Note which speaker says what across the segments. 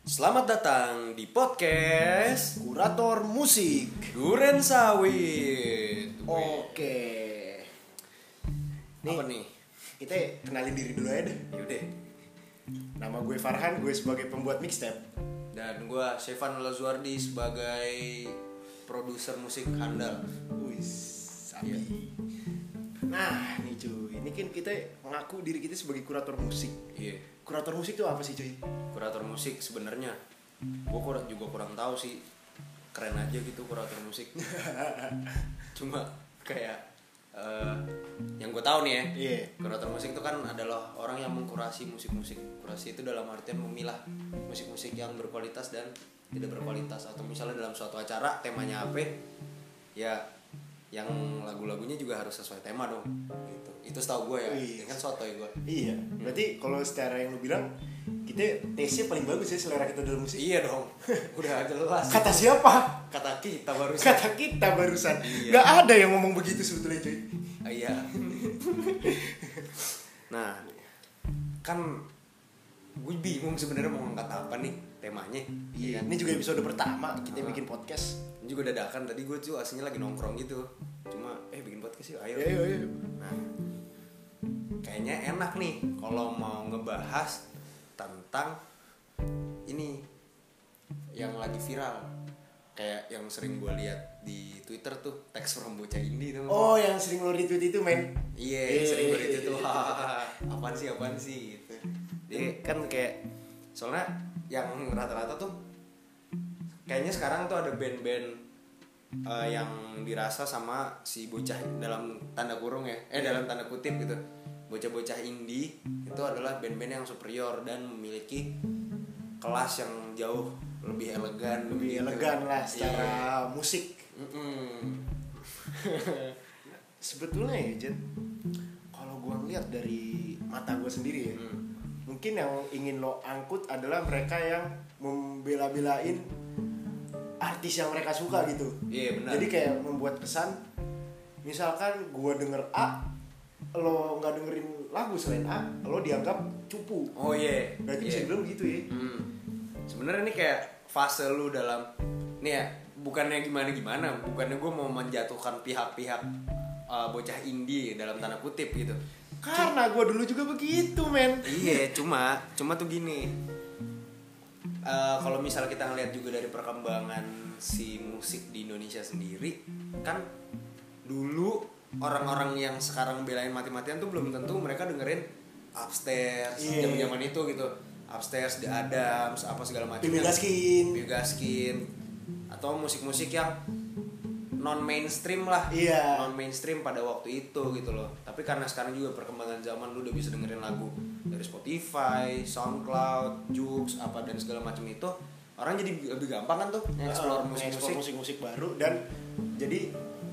Speaker 1: Selamat datang di podcast
Speaker 2: kurator musik.
Speaker 1: Duren Sawit.
Speaker 2: Oke.
Speaker 1: Weh, Apa nih?
Speaker 2: Kita kenalin diri dulu aja deh.
Speaker 1: Yaudah.
Speaker 2: Nama gue Farhan, gue sebagai pembuat mixtape.
Speaker 1: Dan gua Stefan Lazuardi sebagai produser musik handal.
Speaker 2: Wih, sapi. Nah, nih cuy, ini kan kita ngaku diri kita sebagai kurator musik.
Speaker 1: Iya.
Speaker 2: Kurator musik itu apa sih cuy?
Speaker 1: Kurator musik sebenarnya. Gua kurang juga kurang tahu sih. Keren aja gitu kurator musik. Cuma kayak eh, yang gue tahu nih ya.
Speaker 2: Iya.
Speaker 1: Kurator musik itu kan adalah orang yang mengkurasi musik-musik. Kurasi itu dalam artian memilah musik-musik yang berkualitas dan tidak berkualitas atau misalnya dalam suatu acara temanya apa ya yang lagu-lagunya juga harus sesuai tema dong gitu. Itu setahu gue ya.
Speaker 2: Wih.
Speaker 1: Ini kan soto ya gue.
Speaker 2: Iya. Berarti kalau secara yang lu bilang kita taste-nya paling bagus ya selera kita dalam musik.
Speaker 1: Iya dong. Udah jelas.
Speaker 2: Kata siapa?
Speaker 1: Kata kita barusan.
Speaker 2: Kata kita barusan.
Speaker 1: Iya.
Speaker 2: Gak ada yang ngomong begitu sebetulnya cuy.
Speaker 1: Ah, Iya. nah, kan gue bingung sebenarnya mau ngangkat apa nih temanya.
Speaker 2: Iya.
Speaker 1: kan?
Speaker 2: Ini juga episode pertama kita
Speaker 1: Ah.
Speaker 2: bikin podcast.
Speaker 1: Ini juga dadakan tadi gue tuh aslinya lagi nongkrong gitu. Cuma eh bikin podcast yuk, ayo.
Speaker 2: Ayo, ayo.
Speaker 1: Nah, kayaknya enak nih kalau mau ngebahas tentang ini yang lagi viral kayak yang sering gue lihat di Twitter tuh teks from bocah indie tuh.
Speaker 2: Oh, yang sering lo retweet itu, men.
Speaker 1: Iya,
Speaker 2: Iya,
Speaker 1: sering
Speaker 2: iya,
Speaker 1: gue itu
Speaker 2: iya,
Speaker 1: tuh.
Speaker 2: iya.
Speaker 1: "Hahaha, apaan sih, apaan sih gitu. Jadi kan kayak soalnya yang rata-rata tuh kayaknya sekarang tuh ada band-band eh, yang dirasa sama si bocah dalam tanda kurung ya, eh dalam tanda kutip gitu. Bocah-bocah indie itu adalah band-band yang superior dan memiliki kelas yang jauh lebih elegan,
Speaker 2: Lebih
Speaker 1: gitu.
Speaker 2: elegan lah
Speaker 1: Iya.
Speaker 2: secara musik.
Speaker 1: Mm-mm.
Speaker 2: Sebetulnya ya, Jen, kalau gua ngeliat dari mata gua sendiri ya,
Speaker 1: Mm.
Speaker 2: mungkin yang ingin lo angkut adalah mereka yang membela-belain artis yang mereka suka gitu.
Speaker 1: Iya, benar.
Speaker 2: Jadi kayak membuat kesan, misalkan gua denger A, lo nggak dengerin lagu selain A, lo dianggap cupu.
Speaker 1: Oh iya.
Speaker 2: Berarti
Speaker 1: Iya.
Speaker 2: bisa dibilang gitu ya.
Speaker 1: Hmm. Sebenarnya ini kayak fase lu dalam nih ya, bukannya gimana-gimana, bukannya gue mau menjatuhkan pihak-pihak uh, bocah indie dalam tanda kutip gitu.
Speaker 2: Karena gua dulu juga begitu, men.
Speaker 1: Iya, cuma cuma tuh gini. Eh, kalau misal kita ngeliat juga dari perkembangan si musik di Indonesia sendiri, kan dulu orang-orang yang sekarang belain mati-matian tuh belum tentu mereka dengerin upstairs
Speaker 2: Iya.
Speaker 1: zaman-zaman itu gitu. Upstairs, The Adams, apa segala macam.
Speaker 2: Bibi Gaskin.
Speaker 1: Bibi Gaskin. atau musik-musik yang non mainstream lah
Speaker 2: Iya.
Speaker 1: non mainstream pada waktu itu gitu loh tapi karena sekarang juga perkembangan zaman lu udah bisa dengerin lagu dari Spotify, SoundCloud, Joox apa dan segala macam itu orang jadi lebih gampang kan tuh explore
Speaker 2: Explore musik-musik
Speaker 1: musik-musik
Speaker 2: eh, musik-musik baru dan jadi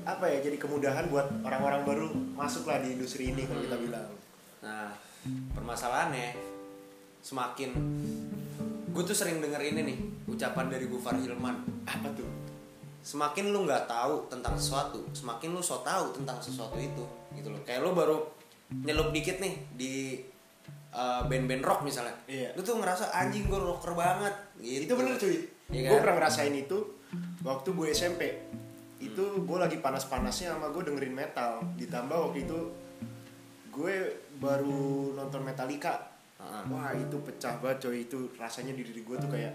Speaker 2: apa ya jadi kemudahan buat orang-orang baru masuklah di industri ini kalau kita bilang
Speaker 1: nah permasalahannya semakin gue tuh sering denger ini nih ucapan dari Gufar Hilman
Speaker 2: apa tuh
Speaker 1: semakin lu nggak tahu tentang sesuatu semakin lu so tahu tentang sesuatu itu gitu loh kayak lu baru nyelup dikit nih di uh, band-band rock misalnya
Speaker 2: Iya.
Speaker 1: lu tuh ngerasa anjing gue rocker banget gitu
Speaker 2: itu bener cuy
Speaker 1: Iya
Speaker 2: gue
Speaker 1: kan?
Speaker 2: pernah ngerasain itu waktu gue SMP itu gue lagi panas-panasnya sama gue dengerin metal ditambah waktu itu gue baru nonton Metallica
Speaker 1: Heeh.
Speaker 2: wah itu pecah banget coy itu rasanya di diri gue tuh kayak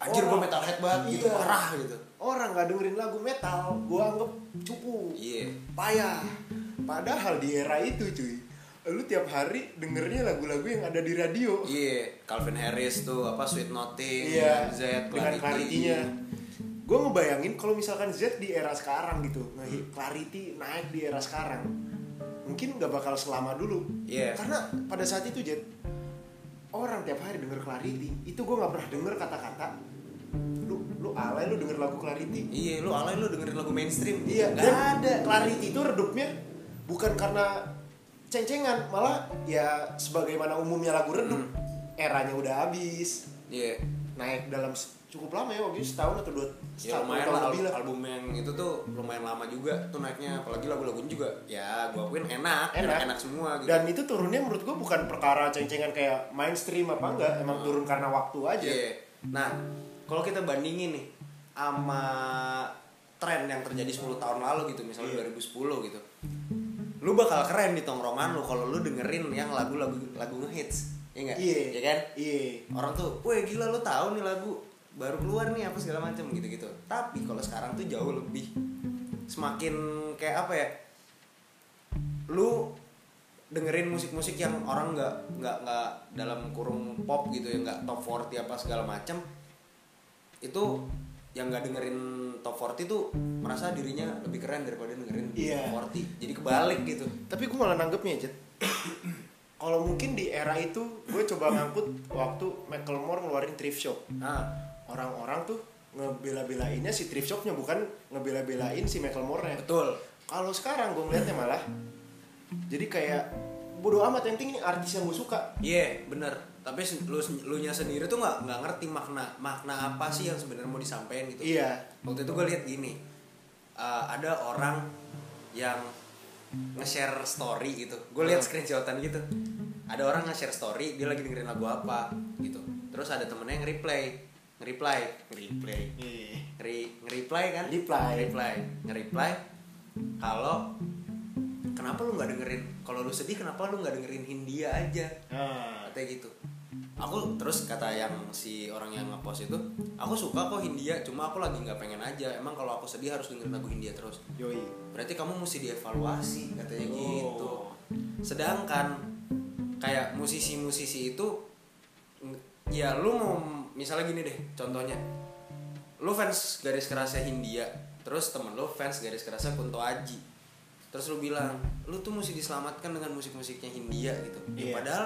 Speaker 1: anjir gue
Speaker 2: orang-
Speaker 1: metalhead banget gitu
Speaker 2: Oh. Iya.
Speaker 1: parah gitu
Speaker 2: orang nggak dengerin lagu metal gue anggap cupu
Speaker 1: iya
Speaker 2: payah padahal di era itu cuy lu tiap hari dengernya lagu-lagu yang ada di radio Iya,
Speaker 1: iya Calvin Harris tuh apa Sweet Nothing Iya, Z
Speaker 2: dengan clarity-nya gue ngebayangin kalau misalkan Z di era sekarang gitu nah,
Speaker 1: Hmm.
Speaker 2: clarity naik di era sekarang mungkin nggak bakal selama dulu
Speaker 1: Iya.
Speaker 2: karena pada saat itu Z orang tiap hari denger clarity itu gue nggak pernah denger kata-kata lu lu alay lu denger lagu clarity
Speaker 1: iya lu alay lu dengerin lagu mainstream
Speaker 2: Iya,
Speaker 1: Nggak
Speaker 2: dan ada. Clarity itu redupnya bukan karena ceng-cengan, malah ya sebagaimana umumnya lagu redup,
Speaker 1: Hmm.
Speaker 2: eranya udah habis,
Speaker 1: iya
Speaker 2: naik dalam se- cukup lama ya waktu itu setahun atau dua
Speaker 1: Ya
Speaker 2: setahun
Speaker 1: lumayan
Speaker 2: tahun
Speaker 1: lah
Speaker 2: lebih
Speaker 1: al-
Speaker 2: lah.
Speaker 1: album yang itu tuh lumayan lama juga tuh naiknya apalagi lagu-lagunya juga ya gua akuin enak
Speaker 2: Enak.
Speaker 1: enak enak semua gitu.
Speaker 2: Dan itu turunnya menurut gue bukan perkara ceng-cengan kayak mainstream apa enggak, emang turun karena waktu aja.
Speaker 1: Hmm. Iya. Nah, kalau kita bandingin nih sama tren yang terjadi 10 tahun lalu gitu,
Speaker 2: Iya.
Speaker 1: misalnya 2010 gitu. Lu bakal keren di tongkrongan lu kalau lu dengerin yang lagu-lagu lagu ngehits. Iya enggak?
Speaker 2: Iya.
Speaker 1: Ya kan?
Speaker 2: Iya.
Speaker 1: Orang tuh, "Weh, gila lu tahu nih lagu baru keluar nih apa segala macam gitu-gitu." Tapi kalau sekarang tuh jauh lebih semakin kayak apa ya? Lu dengerin musik-musik yang orang nggak nggak nggak dalam kurung pop gitu ya nggak top 40 apa segala macam itu yang nggak dengerin top 40 tuh merasa dirinya lebih keren daripada dengerin
Speaker 2: Iya.
Speaker 1: top 40 jadi kebalik gitu
Speaker 2: Tapi gue malah nanggepnya, Jet. Kalau mungkin di era itu gue coba ngangkut waktu Macklemore ngeluarin thrift shop.
Speaker 1: nah
Speaker 2: Orang-orang tuh ngebela-belainnya si thrift shopnya bukan ngebela-belain si Macklemore-nya.
Speaker 1: betul
Speaker 2: Kalau sekarang gue ngeliatnya malah jadi kayak bodo amat yang penting ini artis yang gue suka.
Speaker 1: iya bener tapi sen- lu lu nya sendiri tuh nggak nggak ngerti makna makna apa sih yang sebenarnya mau disampaikan gitu
Speaker 2: Iya.
Speaker 1: waktu itu gue lihat gini eh, ada orang yang nge-share story gitu gue lihat
Speaker 2: Hmm.
Speaker 1: screenshotan gitu ada orang nge-share story dia lagi dengerin lagu apa gitu terus ada temennya yang reply nge-reply nge-reply Ngeri- nge-reply kan
Speaker 2: Reply.
Speaker 1: reply nge-reply kalau kenapa lu nggak dengerin kalau lu sedih kenapa lu nggak dengerin Hindia aja
Speaker 2: Nah,
Speaker 1: katanya gitu aku terus kata yang si orang yang ngepost itu aku suka kok Hindia cuma aku lagi nggak pengen aja emang kalau aku sedih harus dengerin lagu Hindia terus
Speaker 2: yoi.
Speaker 1: berarti kamu mesti dievaluasi katanya
Speaker 2: Oh.
Speaker 1: gitu sedangkan kayak musisi-musisi itu n- ya lu mau misalnya gini deh contohnya lu fans garis kerasnya Hindia terus temen lu fans garis kerasnya Kunto Aji terus lu bilang lu tuh mesti diselamatkan dengan musik-musiknya Hindia gitu Ya,
Speaker 2: Iya.
Speaker 1: padahal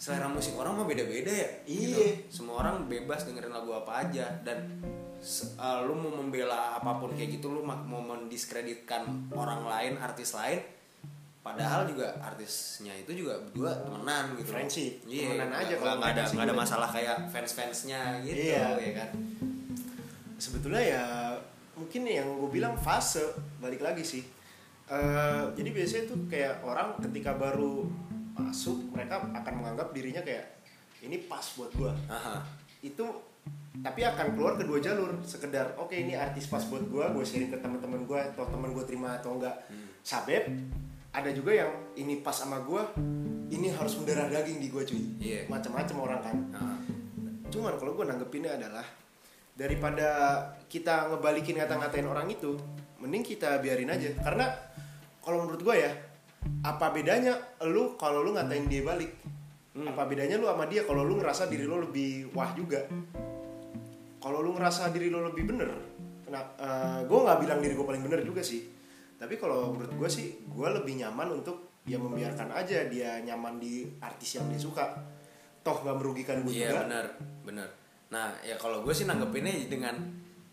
Speaker 1: selera musik orang mah beda-beda ya gitu.
Speaker 2: Iya.
Speaker 1: semua orang bebas dengerin lagu apa aja dan se- eh, lu mau membela apapun kayak gitu lu mak- mau mendiskreditkan orang lain artis lain padahal juga artisnya itu juga berdua temenan gitu
Speaker 2: Friendship,
Speaker 1: iya,
Speaker 2: temenan aja
Speaker 1: nggak-
Speaker 2: kalau
Speaker 1: nggak ada
Speaker 2: musik
Speaker 1: nggak ada
Speaker 2: juga.
Speaker 1: masalah kayak fans fansnya gitu
Speaker 2: Iya.
Speaker 1: ya kan
Speaker 2: sebetulnya ya mungkin yang gue bilang fase balik lagi sih Eh, jadi biasanya tuh kayak orang ketika baru masuk mereka akan menganggap dirinya kayak ini pas buat gua
Speaker 1: Aha.
Speaker 2: itu tapi akan keluar kedua jalur sekedar oke ini artis pas buat gua gue sharing ke teman-teman gua atau teman gue terima atau enggak sabep ada juga yang ini pas sama gua ini harus mendarah daging di gua cuy
Speaker 1: Iya.
Speaker 2: macam-macam orang kan
Speaker 1: Aha.
Speaker 2: Cuman kalau gue nanggepinnya adalah daripada kita ngebalikin ngata-ngatain orang itu, mending kita biarin aja. Karena kalau menurut gue ya, apa bedanya lu kalau lu ngatain dia balik? Apa bedanya lu sama dia kalau lu ngerasa diri lu lebih wah juga? Kalau lu ngerasa diri lu lebih bener, nah, gue nggak bilang diri gue paling bener juga sih. Tapi kalau menurut gue sih, gue lebih nyaman untuk ya membiarkan aja dia nyaman di artis yang dia suka. Toh nggak merugikan gue
Speaker 1: Iya
Speaker 2: juga.
Speaker 1: benar, benar. Nah ya kalau gue sih nanggepinnya dengan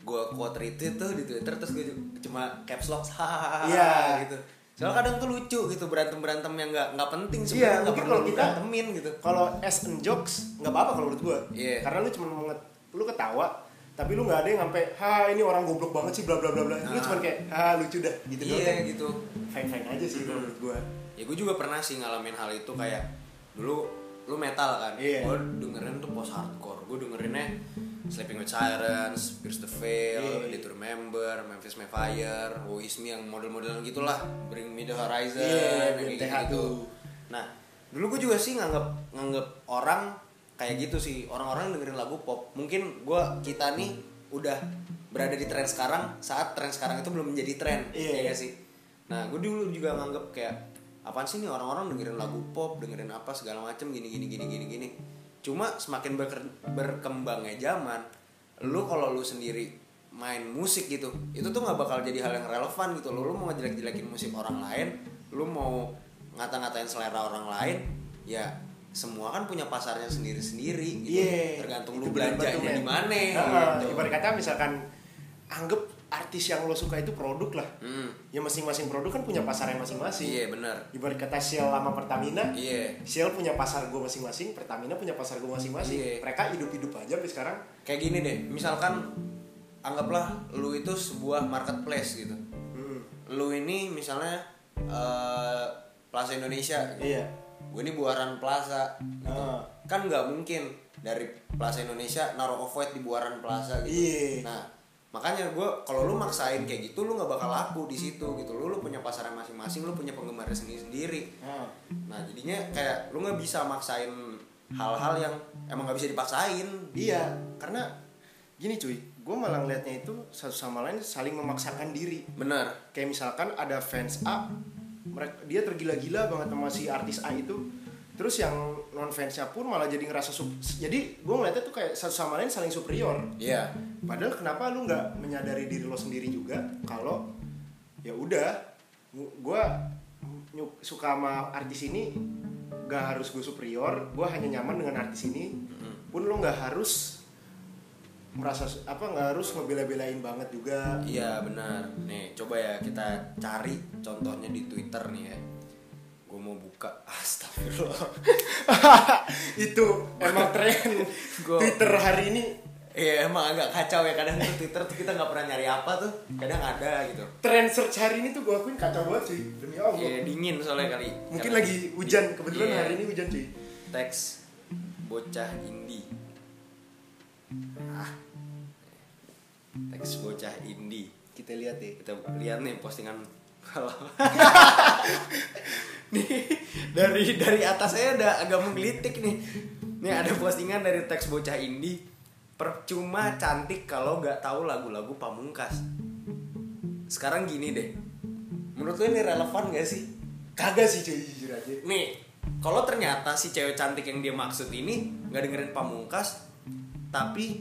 Speaker 1: gue quote retweet tuh di Twitter terus gue cuma caps lock hahaha
Speaker 2: Iya.
Speaker 1: gitu. Soalnya kadang tuh lucu gitu berantem berantem yang nggak nggak penting sebenarnya
Speaker 2: Iya,
Speaker 1: nggak
Speaker 2: mungkin
Speaker 1: perlu
Speaker 2: kalau
Speaker 1: kita
Speaker 2: kita-
Speaker 1: berantemin gitu.
Speaker 2: kalau as and jokes nggak apa-apa kalau menurut gue
Speaker 1: Iya.
Speaker 2: karena lu cuma mau nge- lu ketawa tapi lu nggak ada yang sampai ha ini orang goblok banget sih bla bla bla bla lu
Speaker 1: Ah.
Speaker 2: cuma kayak ha lucu dah gitu
Speaker 1: iya
Speaker 2: doang
Speaker 1: gitu.
Speaker 2: fine fine aja sih kalau menurut gue
Speaker 1: Ya gue juga pernah sih ngalamin hal itu kayak dulu lu metal kan,
Speaker 2: Iya.
Speaker 1: gue dengerin tuh post hardcore, gue dengerinnya Sleeping with Sirens, Pierce the Veil,
Speaker 2: Iya.
Speaker 1: Need to Remember, Memphis Mayfire, Woe Is Me yang model-modelan gitulah, Bring Me the Horizon,
Speaker 2: Iya,
Speaker 1: yang
Speaker 2: BMTH
Speaker 1: kayak gitu.
Speaker 2: tuh.
Speaker 1: Nah, dulu gue juga sih nganggap nganggap orang kayak gitu sih, orang-orang yang dengerin lagu pop. Mungkin gue kita nih udah berada di tren sekarang saat tren sekarang itu belum menjadi tren.
Speaker 2: Iya.
Speaker 1: ya nggak sih. Nah, gue dulu juga nganggap kayak apaan sih nih orang-orang dengerin lagu pop, dengerin apa segala macem gini gini gini gini gini. Cuma semakin berker- berkembangnya zaman, lu kalau lu sendiri main musik gitu, itu tuh nggak bakal jadi hal yang relevan gitu. Lu, lu mau ngejelek-jelekin musik orang lain, lu mau ngata-ngatain selera orang lain, ya semua kan punya pasarnya sendiri-sendiri gitu.
Speaker 2: Iya.
Speaker 1: Tergantung
Speaker 2: Itu
Speaker 1: lu
Speaker 2: bener banget tuh,
Speaker 1: belanjanya
Speaker 2: men.
Speaker 1: di mana.
Speaker 2: Heeh,
Speaker 1: gitu.
Speaker 2: ibarat kata misalkan anggap artis yang lo suka itu produk lah
Speaker 1: Hmm,
Speaker 2: ya masing-masing produk kan punya pasarnya masing-masing
Speaker 1: iya bener.
Speaker 2: ibarat kata Shell sama Pertamina
Speaker 1: Iya.
Speaker 2: Shell punya pasar gue masing-masing Pertamina punya pasar gue masing-masing
Speaker 1: Iya.
Speaker 2: mereka hidup-hidup aja sampai sekarang
Speaker 1: kayak gini deh misalkan anggaplah lu itu sebuah marketplace gitu
Speaker 2: Hmm.
Speaker 1: lu ini misalnya eh Plaza Indonesia gitu.
Speaker 2: iya
Speaker 1: gue ini buaran plaza gitu.
Speaker 2: Ah.
Speaker 1: kan nggak mungkin dari plaza Indonesia naruh off white di buaran plaza gitu
Speaker 2: Iya.
Speaker 1: nah makanya gue kalau lu maksain kayak gitu lu nggak bakal laku di situ gitu lu lu punya pasaran masing-masing lu punya penggemarnya sendiri sendiri
Speaker 2: Ah.
Speaker 1: nah jadinya kayak lu nggak bisa maksain hal-hal yang emang nggak bisa dipaksain
Speaker 2: Iya, karena gini cuy, gue malah ngelihatnya itu satu sama lain saling memaksakan diri.
Speaker 1: bener
Speaker 2: Kayak misalkan ada fans A, mereka dia tergila-gila banget sama si artis A itu. Terus yang non fansnya pun malah jadi ngerasa sup- jadi gue ngeliatnya tuh kayak satu sama lain saling superior.
Speaker 1: iya
Speaker 2: Padahal kenapa lu nggak menyadari diri lo sendiri juga kalau ya udah gue suka sama artis ini gak harus gue superior, gue hanya nyaman dengan artis ini pun lo nggak harus merasa su- apa nggak harus ngebela-belain banget juga
Speaker 1: Iya benar. Nih coba ya kita cari contohnya di Twitter nih ya. Gue mau buka. Astagfirullah.
Speaker 2: itu emang tren
Speaker 1: Gua-
Speaker 2: Twitter hari ini
Speaker 1: Iya emang agak kacau ya kadang tuh Twitter tuh kita nggak pernah nyari apa tuh. Kadang ada gitu.
Speaker 2: tren search hari ini tuh gue akuin kacau banget cuy demi allah
Speaker 1: Iya dingin soalnya kali.
Speaker 2: mungkin
Speaker 1: Karena
Speaker 2: lagi hujan kebetulan
Speaker 1: Iya.
Speaker 2: hari ini hujan cuy
Speaker 1: teks bocah indie. Ah. Teks bocah indie.
Speaker 2: kita lihat deh
Speaker 1: Kita lihat nih postingan kalau nih dari dari atas saya udah agak menggelitik nih. Nih ada postingan dari teks bocah indie. Percuma cantik kalau nggak tahu lagu-lagu pamungkas. Sekarang gini deh. Menurut lo ini relevan gak sih?
Speaker 2: kagak sih cuy jujur aja
Speaker 1: Nih, kalau ternyata si cewek cantik yang dia maksud ini nggak dengerin pamungkas, tapi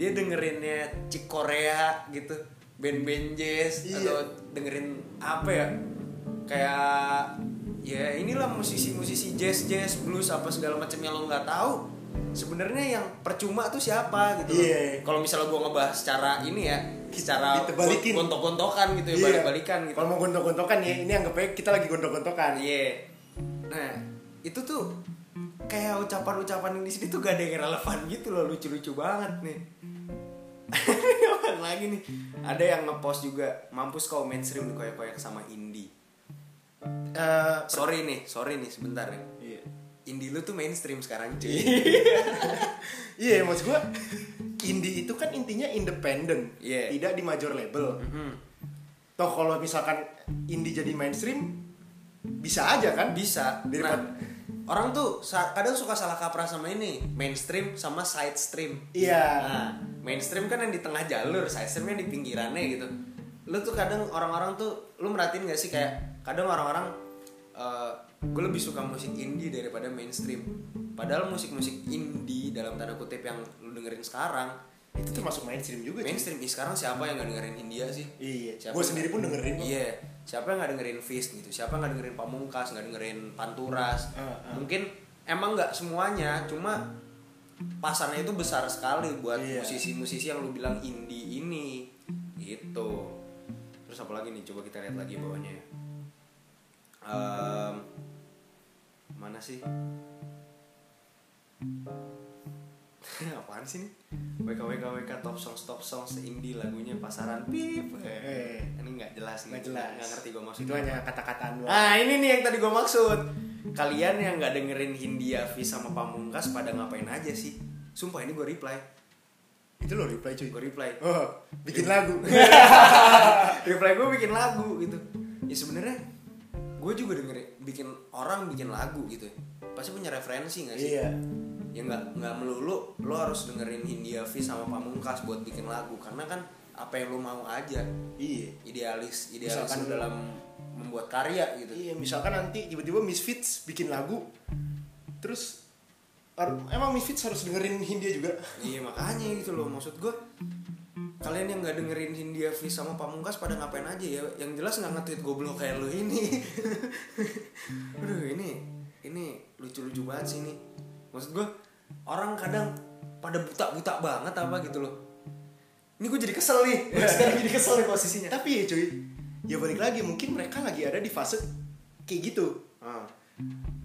Speaker 1: dia dengerinnya cik Korea gitu, band band jazz
Speaker 2: Iya.
Speaker 1: atau dengerin apa ya? Kayak ya inilah musisi-musisi jazz jazz blues apa segala macamnya lo nggak tahu. Sebenarnya yang percuma tuh siapa gitu. loh.
Speaker 2: Iya.
Speaker 1: Kalau misalnya gua ngebahas secara ini ya, secara
Speaker 2: Ditebalikin.
Speaker 1: gontok-gontokan gitu ya,
Speaker 2: Iya.
Speaker 1: balik-balikan gitu.
Speaker 2: Kalau mau gontok-gontokan ya, ini anggapnya kita lagi gontok-gontokan.
Speaker 1: Iya. Nah, itu tuh kayak ucapan-ucapan yang di sini tuh gak ada yang relevan gitu loh, lucu-lucu banget nih. Apaan lagi nih? Ada yang ngepost juga, mampus kau mainstream dikoyak-koyak sama indie.
Speaker 2: Eh,
Speaker 1: Sorry nih, sorry nih sebentar nih.
Speaker 2: Iya.
Speaker 1: Indie lu tuh mainstream sekarang cuy.
Speaker 2: Iya, maksud gua indie itu kan intinya independen,
Speaker 1: Iya.
Speaker 2: tidak di major label.
Speaker 1: Mhm.
Speaker 2: Toh kalau misalkan indie jadi mainstream bisa aja kan?
Speaker 1: Bisa. Nah,
Speaker 2: Daripada-
Speaker 1: orang tuh sa- kadang suka salah kaprah sama ini, mainstream sama side stream.
Speaker 2: Iya.
Speaker 1: Nah, mainstream kan yang di tengah jalur, sidestream yang di pinggirannya gitu. Lu tuh kadang orang-orang tuh, lu merhatiin gak sih kayak kadang orang-orang gue lebih suka musik indie daripada mainstream. Padahal musik-musik indie dalam tanda kutip yang lu dengerin sekarang,
Speaker 2: Itu termasuk mainstream juga. cuy.
Speaker 1: Nah. mainstream Ih, sekarang siapa yang gak dengerin India sih?
Speaker 2: Iya,
Speaker 1: Siapa
Speaker 2: gua
Speaker 1: yang-
Speaker 2: sendiri pun dengerin kok.
Speaker 1: Iya, siapa yang nggak dengerin Fist gitu? Siapa yang nggak dengerin Pamungkas, nggak dengerin Panturas?
Speaker 2: Ah, ah.
Speaker 1: Mungkin emang nggak semuanya, cuma pasarnya itu besar sekali buat
Speaker 2: Iya.
Speaker 1: musisi-musisi yang lu bilang indie ini, gitu. Terus apa lagi nih? Coba kita lihat lagi bawahnya. ya. Em, mana sih? Apaan sih nih? WK WK WK top songs top songs indie lagunya pasaran pip.
Speaker 2: Eh.
Speaker 1: Ini nggak jelas nih.
Speaker 2: Nggak jelas.
Speaker 1: Nggak ngerti gue
Speaker 2: Itu
Speaker 1: maksudnya.
Speaker 2: hanya kata-kataan doang.
Speaker 1: Nah ini nih yang tadi gue maksud. Kalian yang nggak dengerin Hindia V sama Pamungkas pada ngapain aja sih? Sumpah ini gue reply.
Speaker 2: Itu lo reply cuy.
Speaker 1: Gue reply.
Speaker 2: Oh, bikin lagu.
Speaker 1: Iya, reply gue bikin lagu gitu. Ya sebenarnya gue juga dengerin bikin orang bikin lagu gitu. ya. Pasti punya referensi nggak sih?
Speaker 2: iya.
Speaker 1: ya nggak nggak melulu lo harus dengerin Hindia V sama Pamungkas buat bikin lagu karena kan apa yang lo mau aja
Speaker 2: Iya.
Speaker 1: idealis idealis lo
Speaker 2: Misalkan lo-
Speaker 1: dalam membuat karya gitu
Speaker 2: Iya, misalkan nanti tiba-tiba Misfits bikin lagu, terus har- emang Misfits harus dengerin Hindia juga?
Speaker 1: iya makanya gitu loh maksud gue kalian yang nggak dengerin Hindia V sama Pamungkas pada ngapain aja ya yang jelas nggak nge-tweet goblok kayak lo ini aduh ini ini lucu-lucu banget sih ini maksud gue orang kadang pada buta-buta banget apa gitu loh ini gue jadi kesel nih Gua sekarang jadi kesel nih posisinya
Speaker 2: Tapi ya cuy, ya balik lagi mungkin mereka lagi ada di fase kayak gitu.
Speaker 1: Ah.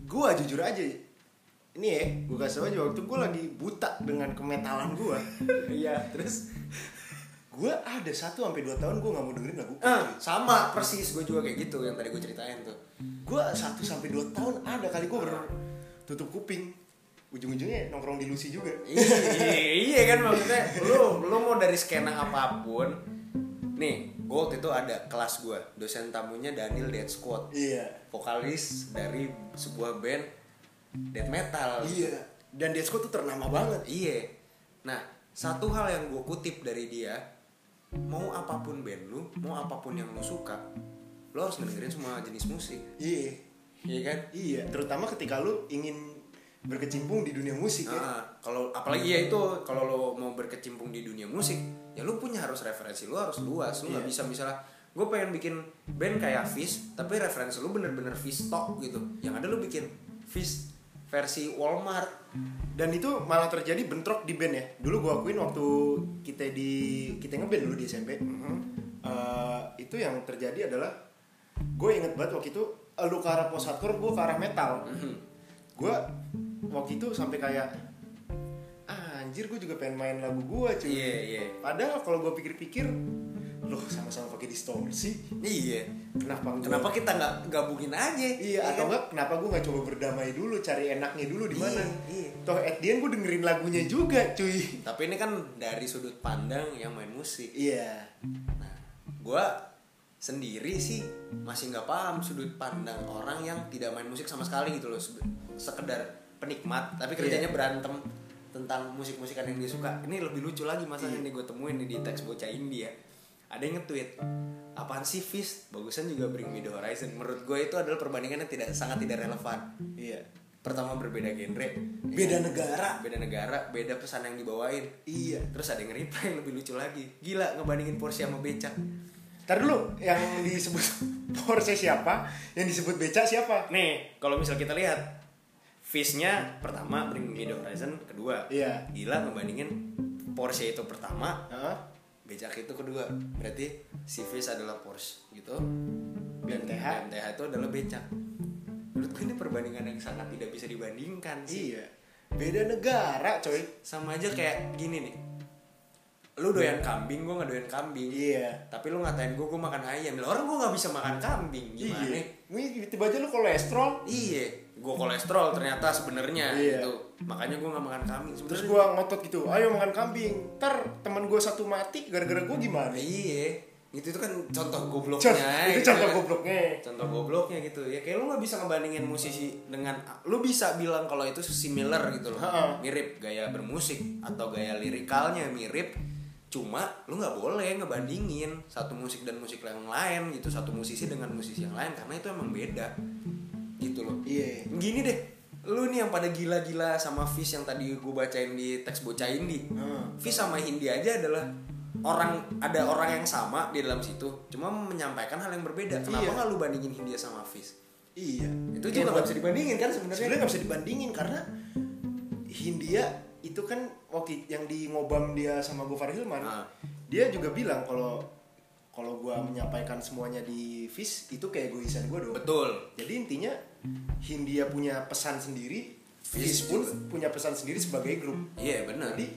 Speaker 2: Gua jujur aja, ini ya, gua kasih tau aja waktu gua lagi buta dengan kemetalan gua.
Speaker 1: Iya, terus
Speaker 2: Gua ada satu sampai dua tahun gua nggak mau dengerin lagu.
Speaker 1: ah, sama persis gue juga kayak gitu yang tadi gue ceritain tuh.
Speaker 2: gue 1 sampai 2 tahun ada kali gue bener tutup kuping ujung-ujungnya nongkrong di Lucy juga
Speaker 1: iya iya kan maksudnya lu lu mau dari skena apapun nih gue waktu itu ada kelas gue dosen tamunya Daniel Dead Squad
Speaker 2: iya
Speaker 1: vokalis dari sebuah band death metal
Speaker 2: iya dan Desko tuh ternama banget
Speaker 1: Iya. Nah, satu hal yang gue kutip dari dia, mau apapun band lu, mau apapun yang lu suka, lu harus dengerin semua jenis musik.
Speaker 2: iya
Speaker 1: Iya kan?
Speaker 2: iya terutama ketika lu ingin berkecimpung di dunia musik ya
Speaker 1: Nah, kalau apalagi ya itu kalau lo mau berkecimpung di dunia musik, ya lu punya harus referensi, lu harus luas, lu nggak
Speaker 2: Iya.
Speaker 1: bisa misalnya gue pengen bikin band kayak Fish, tapi referensi lu bener-bener Fish Talk gitu. Yang ada lu bikin Fish versi Walmart.
Speaker 2: dan itu malah terjadi bentrok di band ya dulu gua akuin waktu kita di kita ngeband dulu di SMP
Speaker 1: Mm-hmm.
Speaker 2: Eh, itu yang terjadi adalah gue inget banget waktu itu eh, lu ke arah post hardcore gue ke arah metal
Speaker 1: Mm-hmm.
Speaker 2: gue waktu itu sampai kayak "Ah, anjir gue juga pengen main lagu gue cuy
Speaker 1: Iya, iya.
Speaker 2: padahal kalau gue pikir-pikir loh sama-sama pakai distorsi
Speaker 1: Iya.
Speaker 2: kenapa gua-
Speaker 1: Kenapa kita nggak gabungin aja? ya
Speaker 2: Iya,
Speaker 1: kan?
Speaker 2: atau enggak kenapa gue nggak coba berdamai dulu, cari enaknya dulu di mana?
Speaker 1: Iya, iya.
Speaker 2: Toh at the end gue dengerin lagunya juga, cuy.
Speaker 1: Tapi ini kan dari sudut pandang yang main musik.
Speaker 2: Iya.
Speaker 1: Nah, gue sendiri sih masih nggak paham sudut pandang orang yang tidak main musik sama sekali gitu loh. Sebe- Sekedar penikmat,
Speaker 2: Iya.
Speaker 1: tapi kerjanya berantem tentang musik-musikan yang dia suka. Ini lebih lucu lagi
Speaker 2: Iya.
Speaker 1: masalahnya nih gue temuin nih di teks bocah India. Ada yang nge-tweet, apaan sih Fist? Bagusan juga Bring Me The Horizon. Menurut gue itu adalah perbandingan yang tidak sangat tidak relevan.
Speaker 2: Iya.
Speaker 1: Pertama berbeda genre, Iya.
Speaker 2: Beda negara.
Speaker 1: beda negara, beda pesan yang dibawain.
Speaker 2: Iya.
Speaker 1: Terus ada yang reply yang lebih lucu lagi. Gila ngebandingin Porsche sama becak.
Speaker 2: Ntar dulu yang disebut Porsche siapa? Yang disebut beca siapa?
Speaker 1: Nih, kalau misal kita lihat Fishnya pertama Bring Me The Horizon kedua.
Speaker 2: Iya.
Speaker 1: Gila ngebandingin Porsche itu pertama,
Speaker 2: Heeh.
Speaker 1: becak itu kedua. Berarti si Fish adalah Porsche gitu.
Speaker 2: BMTH.
Speaker 1: BMTH itu adalah becak. Menurut gue ini perbandingan yang sangat tidak bisa dibandingkan sih.
Speaker 2: Iya. Beda negara, coy.
Speaker 1: Sama aja kayak gini nih. Lu doyan kambing, gue nggak doyan kambing.
Speaker 2: Iya.
Speaker 1: tapi lu ngatain gue gue makan ayam lah orang gue nggak bisa makan kambing gimana
Speaker 2: Iya. Wih, tiba aja lu kolesterol.
Speaker 1: iya gue kolesterol ternyata sebenarnya
Speaker 2: Iya.
Speaker 1: gitu makanya gue nggak makan kambing
Speaker 2: Terus
Speaker 1: sebenarnya.
Speaker 2: gua ngotot gitu, ayo makan kambing. Ntar teman gua satu mati gara-gara gua gimana?
Speaker 1: iya itu itu kan contoh
Speaker 2: Cont-
Speaker 1: gobloknya
Speaker 2: itu
Speaker 1: gitu
Speaker 2: contoh
Speaker 1: kan.
Speaker 2: gobloknya.
Speaker 1: contoh gobloknya gitu ya kayak lu nggak bisa ngebandingin musisi dengan lu bisa bilang kalau itu similar gitu loh
Speaker 2: Ha-ha.
Speaker 1: mirip gaya bermusik atau gaya lirikalnya mirip cuma lu nggak boleh ngebandingin satu musik dan musik yang lain gitu satu musisi dengan musisi yang lain karena itu emang beda gitu loh
Speaker 2: Iya.
Speaker 1: gini deh lu nih yang pada gila-gila sama Fish yang tadi gue bacain di teks bocah Indi
Speaker 2: Hmm.
Speaker 1: Fish sama Hindi aja adalah orang ada orang yang sama di dalam situ cuma menyampaikan hal yang berbeda kenapa
Speaker 2: Iya.
Speaker 1: nggak lu bandingin Hindia sama Fish
Speaker 2: Iya.
Speaker 1: itu juga nggak bisa dibandingin kan sebenarnya
Speaker 2: Sebenarnya nggak bisa dibandingin karena Hindia itu kan waktu yang di ngobam dia sama Gofar Hilman,
Speaker 1: Ah.
Speaker 2: dia juga bilang kalau kalau gua menyampaikan semuanya di Fish itu kayak egoisan gua dong.
Speaker 1: betul
Speaker 2: Jadi intinya Hindia punya pesan sendiri,
Speaker 1: Fish
Speaker 2: Fish pun punya pesan sendiri sebagai grup.
Speaker 1: iya bener
Speaker 2: Jadi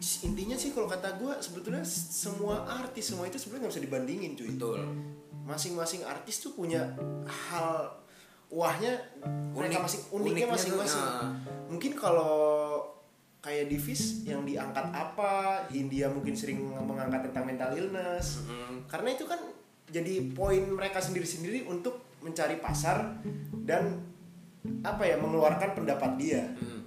Speaker 2: is- intinya sih kalau kata gua sebetulnya s- semua artis semua itu sebenarnya nggak bisa dibandingin cuy.
Speaker 1: betul
Speaker 2: masing-masing artis tuh punya hal wahnya mereka
Speaker 1: Unik.
Speaker 2: masing uniknya
Speaker 1: Uniknya tuh,
Speaker 2: masing-masing.
Speaker 1: nah.
Speaker 2: Mungkin kalau kayak Divis yang diangkat apa, Hindia mungkin sering mengangkat tentang mental illness.
Speaker 1: Mm-mm.
Speaker 2: Karena itu kan jadi poin mereka sendiri-sendiri untuk mencari pasar dan apa ya mengeluarkan pendapat dia.
Speaker 1: Mm.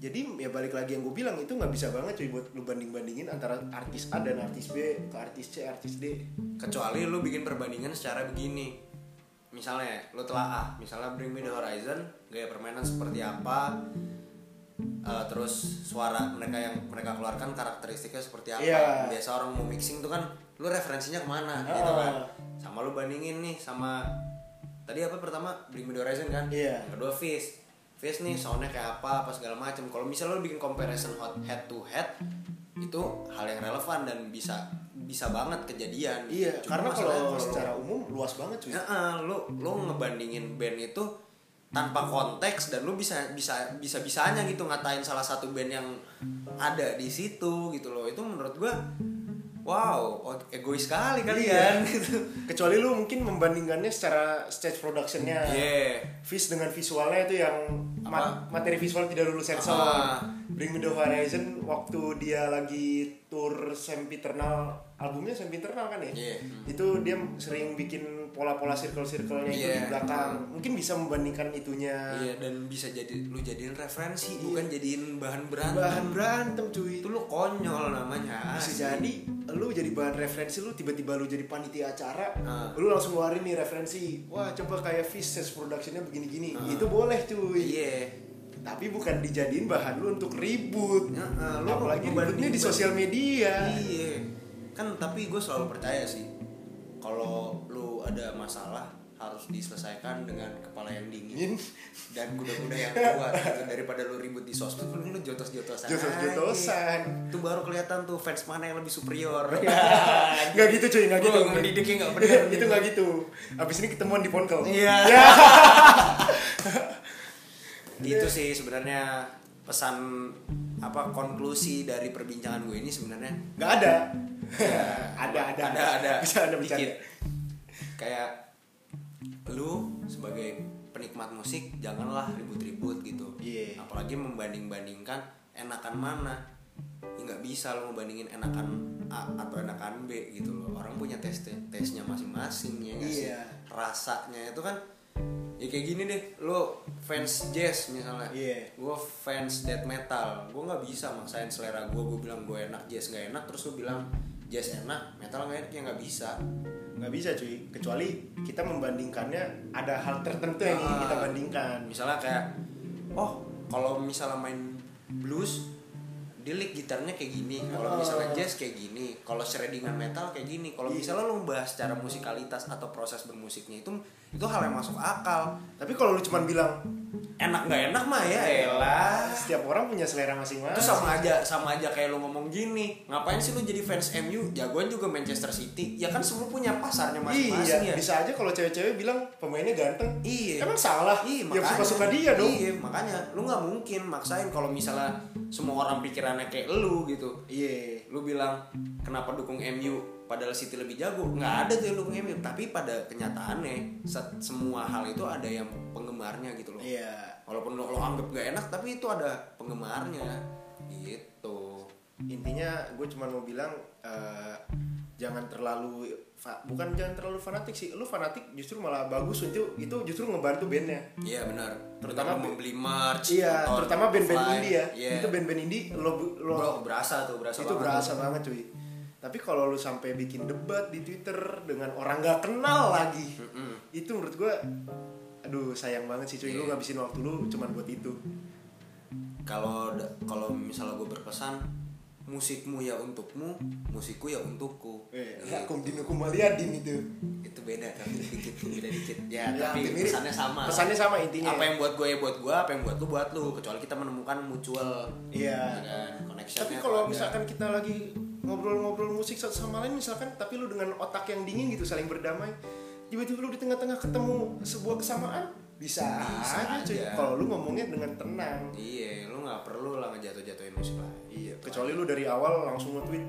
Speaker 2: Jadi ya balik lagi yang gue bilang itu nggak bisa banget cuy buat lu banding-bandingin antara artis A dan artis B ke artis C, artis D.
Speaker 1: kecuali lu bikin perbandingan secara begini misalnya lu telah ah misalnya Bring Me The Horizon gaya permainan seperti apa eh, terus suara mereka yang mereka keluarkan karakteristiknya seperti apa
Speaker 2: Iya.
Speaker 1: biasa orang mau mixing tuh kan lu referensinya kemana
Speaker 2: Ah.
Speaker 1: gitu kan sama lu bandingin nih sama tadi apa pertama Bring Me The Horizon kan
Speaker 2: Iya.
Speaker 1: yang kedua Fizz Fizz nih soundnya kayak apa apa segala macam kalau misalnya lu bikin comparison hot head to head itu hal yang relevan dan bisa bisa banget kejadian
Speaker 2: Iya,
Speaker 1: Cuma
Speaker 2: karena
Speaker 1: masalahnya
Speaker 2: kalau
Speaker 1: lu-
Speaker 2: secara umum luas banget cuy. Iya.
Speaker 1: Ya, eh, lu lu ngebandingin band itu tanpa konteks dan lu bisa bisa bisa bisanya gitu ngatain salah satu band yang ada di situ gitu loh. Itu menurut gua wow o- egois sekali
Speaker 2: Iya.
Speaker 1: kalian gitu
Speaker 2: kecuali lu mungkin membandingkannya secara stage productionnya
Speaker 1: yeah.
Speaker 2: Fish dengan visualnya itu yang ma- materi visual tidak lulus sensor.
Speaker 1: Ah.
Speaker 2: Bring Me The Horizon waktu dia lagi tour sempiternal albumnya sempiternal kan ya?
Speaker 1: Iya.
Speaker 2: Itu dia sering bikin pola-pola circle-circle-nya itu di
Speaker 1: Iya.
Speaker 2: belakang. Mungkin bisa membandingkan itunya.
Speaker 1: Iya dan bisa jadi lu jadiin referensi bukan jadiin bahan berantem.
Speaker 2: Bahan berantem cuy.
Speaker 1: itu lu konyol namanya. Iya.
Speaker 2: Hmm, Bisa
Speaker 1: asli.
Speaker 2: jadi lu jadi bahan referensi lu tiba-tiba lu jadi panitia acara,
Speaker 1: Ah.
Speaker 2: lu langsung ngeluarin nih referensi. Wah, coba kayak Fish stage productionnya begini-gini. Itu boleh cuy.
Speaker 1: Ah. Iya.
Speaker 2: tapi bukan dijadiin bahan lu untuk ribut
Speaker 1: Ya, eh, lu
Speaker 2: apalagi
Speaker 1: ngebahan-
Speaker 2: ributnya di
Speaker 1: ngebahan-
Speaker 2: sosial media
Speaker 1: Iya. Kan tapi gue selalu percaya sih kalau lu ada masalah harus diselesaikan dengan kepala yang
Speaker 2: Iya.
Speaker 1: dingin dan kuda-kuda yang kuat gitu. daripada lu ribut di sosmed mending lu jotos-jotosan aja.
Speaker 2: jotos-jotosan
Speaker 1: itu baru kelihatan tuh fans mana yang lebih superior
Speaker 2: nggak gitu cuy nggak gitu
Speaker 1: Iya. Gua mendidiknya nggak bener
Speaker 2: itu nggak gitu abis ini ketemuan di Ya. ponkel
Speaker 1: Iya. itu Gitu sih sebenarnya pesan apa konklusi dari perbincangan gue ini sebenarnya
Speaker 2: nggak ada
Speaker 1: ya,
Speaker 2: ada ada
Speaker 1: ada ada
Speaker 2: bisa ada bercanda
Speaker 1: dikit. kayak lu sebagai penikmat musik janganlah ribut-ribut gitu
Speaker 2: Iya.
Speaker 1: apalagi membanding-bandingkan enakan mana Ya nggak bisa lo ngebandingin enakan A atau enakan B gitu loh orang punya tes tesnya masing-masing ya nggak sih?
Speaker 2: Iya.
Speaker 1: rasanya itu kan ya kayak gini deh lo fans jazz misalnya
Speaker 2: Iya.
Speaker 1: gue Eh, fans death metal gue nggak bisa maksain selera gue gue bilang gue enak jazz nggak enak terus lu bilang jazz enak metal nggak enak ya nggak bisa
Speaker 2: nggak bisa cuy kecuali kita membandingkannya ada hal tertentu yang ingin kita
Speaker 1: Ah.
Speaker 2: bandingkan
Speaker 1: misalnya kayak oh kalau misalnya main blues dia lick gitarnya kayak gini kalau misalnya jazz kayak gini kalau shreddingan metal kayak gini kalau
Speaker 2: Iya.
Speaker 1: misalnya lo membahas secara musikalitas atau proses bermusiknya itu itu hal yang masuk akal
Speaker 2: tapi kalau lu cuman bilang
Speaker 1: enak nggak enak mah ya elah
Speaker 2: setiap orang punya selera masing-masing
Speaker 1: itu sama aja sama aja kayak lo ngomong gini ngapain sih lo jadi fans MU jagoan juga Manchester City ya kan semua punya pasarnya masing-masing
Speaker 2: iya
Speaker 1: ya
Speaker 2: bisa aja kalau cewek-cewek bilang pemainnya ganteng
Speaker 1: Iya.
Speaker 2: emang salah
Speaker 1: Iya,
Speaker 2: ya
Speaker 1: makanya.
Speaker 2: suka suka dia dong
Speaker 1: Iya, makanya lu nggak mungkin maksain kalau misalnya semua orang pikirannya kayak lu gitu.
Speaker 2: Iya.
Speaker 1: Lu bilang kenapa dukung MU padahal City lebih jago? nggak ada tuh yang dukung MU, tapi pada kenyataannya se- semua hal itu ada yang penggemarnya gitu loh.
Speaker 2: Iya.
Speaker 1: Walaupun lo, lo anggap nggak enak, tapi itu ada penggemarnya. Gitu.
Speaker 2: Intinya gue cuma mau bilang eh, jangan terlalu fa- bukan jangan terlalu fanatik sih. Lu fanatik justru malah bagus itu itu justru ngebantu bandnya.
Speaker 1: Iya benar.
Speaker 2: Terutama
Speaker 1: Terutama
Speaker 2: bi-
Speaker 1: membeli merch.
Speaker 2: Iya,
Speaker 1: nonton
Speaker 2: terutama band-band
Speaker 1: offline.
Speaker 2: indie ya.
Speaker 1: Iya.
Speaker 2: Itu band-band indie lo lo
Speaker 1: Bro, berasa tuh, berasa
Speaker 2: itu
Speaker 1: banget.
Speaker 2: berasa banget cuy. Tapi kalau lu sampai bikin debat di Twitter dengan orang nggak
Speaker 1: Iya.
Speaker 2: kenal lagi, itu menurut gue, aduh sayang banget sih cuy. Lu
Speaker 1: Iya.
Speaker 2: ngabisin waktu lu cuman buat itu.
Speaker 1: kalau da- kalau misalnya gue berpesan musikmu ya untukmu musikku ya untukku
Speaker 2: Eh,
Speaker 1: Gitu.
Speaker 2: hukum dinu kumaliadin itu.
Speaker 1: itu beda tapi dikit beda dikit ya,
Speaker 2: Ya,
Speaker 1: tapi
Speaker 2: hampir mirip.
Speaker 1: pesannya sama
Speaker 2: Pesannya sama intinya.
Speaker 1: apa yang buat gue ya buat gue apa yang buat lu buat lu kecuali kita menemukan mutual
Speaker 2: Iya.
Speaker 1: dan connection
Speaker 2: Tapi kalau misalkan kita lagi ngobrol-ngobrol musik satu sama lain misalkan tapi lu dengan otak yang dingin gitu saling berdamai tiba-tiba lu di tengah-tengah ketemu sebuah kesamaan bisa,
Speaker 1: Bisa
Speaker 2: aja cuy
Speaker 1: aja.
Speaker 2: kalau lu ngomongnya dengan tenang
Speaker 1: iya lu nggak perlu lah ngejatuh jatuhin musik lah
Speaker 2: iya kecuali lu dari awal langsung nge-tweet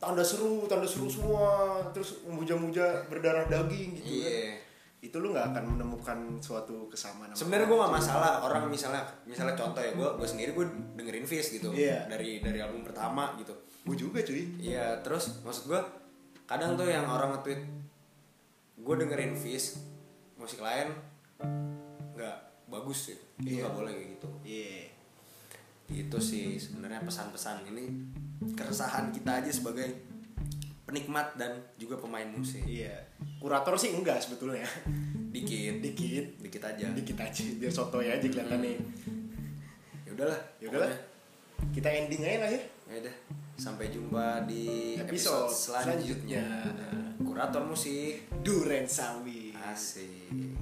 Speaker 2: tanda seru tanda seru semua terus memuja-muja berdarah daging gitu kan
Speaker 1: iya
Speaker 2: itu lu nggak akan menemukan suatu kesamaan sama
Speaker 1: sebenarnya gue gak masalah orang misalnya misalnya contoh ya gue gue sendiri gue dengerin Fizz gitu
Speaker 2: Iya.
Speaker 1: dari dari album pertama gitu
Speaker 2: gue juga cuy
Speaker 1: Iya, terus maksud gua kadang tuh yang orang nge-tweet gue dengerin Fish musik lain nggak bagus gitu. Itu
Speaker 2: Iya.
Speaker 1: nggak boleh kayak gitu.
Speaker 2: iya
Speaker 1: Itu sih sebenarnya pesan-pesan ini keresahan kita aja sebagai penikmat dan juga pemain musik.
Speaker 2: iya kurator sih enggak sebetulnya
Speaker 1: Dikit,
Speaker 2: dikit
Speaker 1: dikit aja.
Speaker 2: dikit aja biar sotoy aja kelihatannya
Speaker 1: Ya udahlah,
Speaker 2: ya udahlah
Speaker 1: pokoknya.
Speaker 2: kita ending aja lah ya
Speaker 1: Ya udah. Sampai jumpa di
Speaker 2: Episode
Speaker 1: episode, selanjutnya.
Speaker 2: selanjutnya.
Speaker 1: Kurator musik.
Speaker 2: duren sawit
Speaker 1: Asik.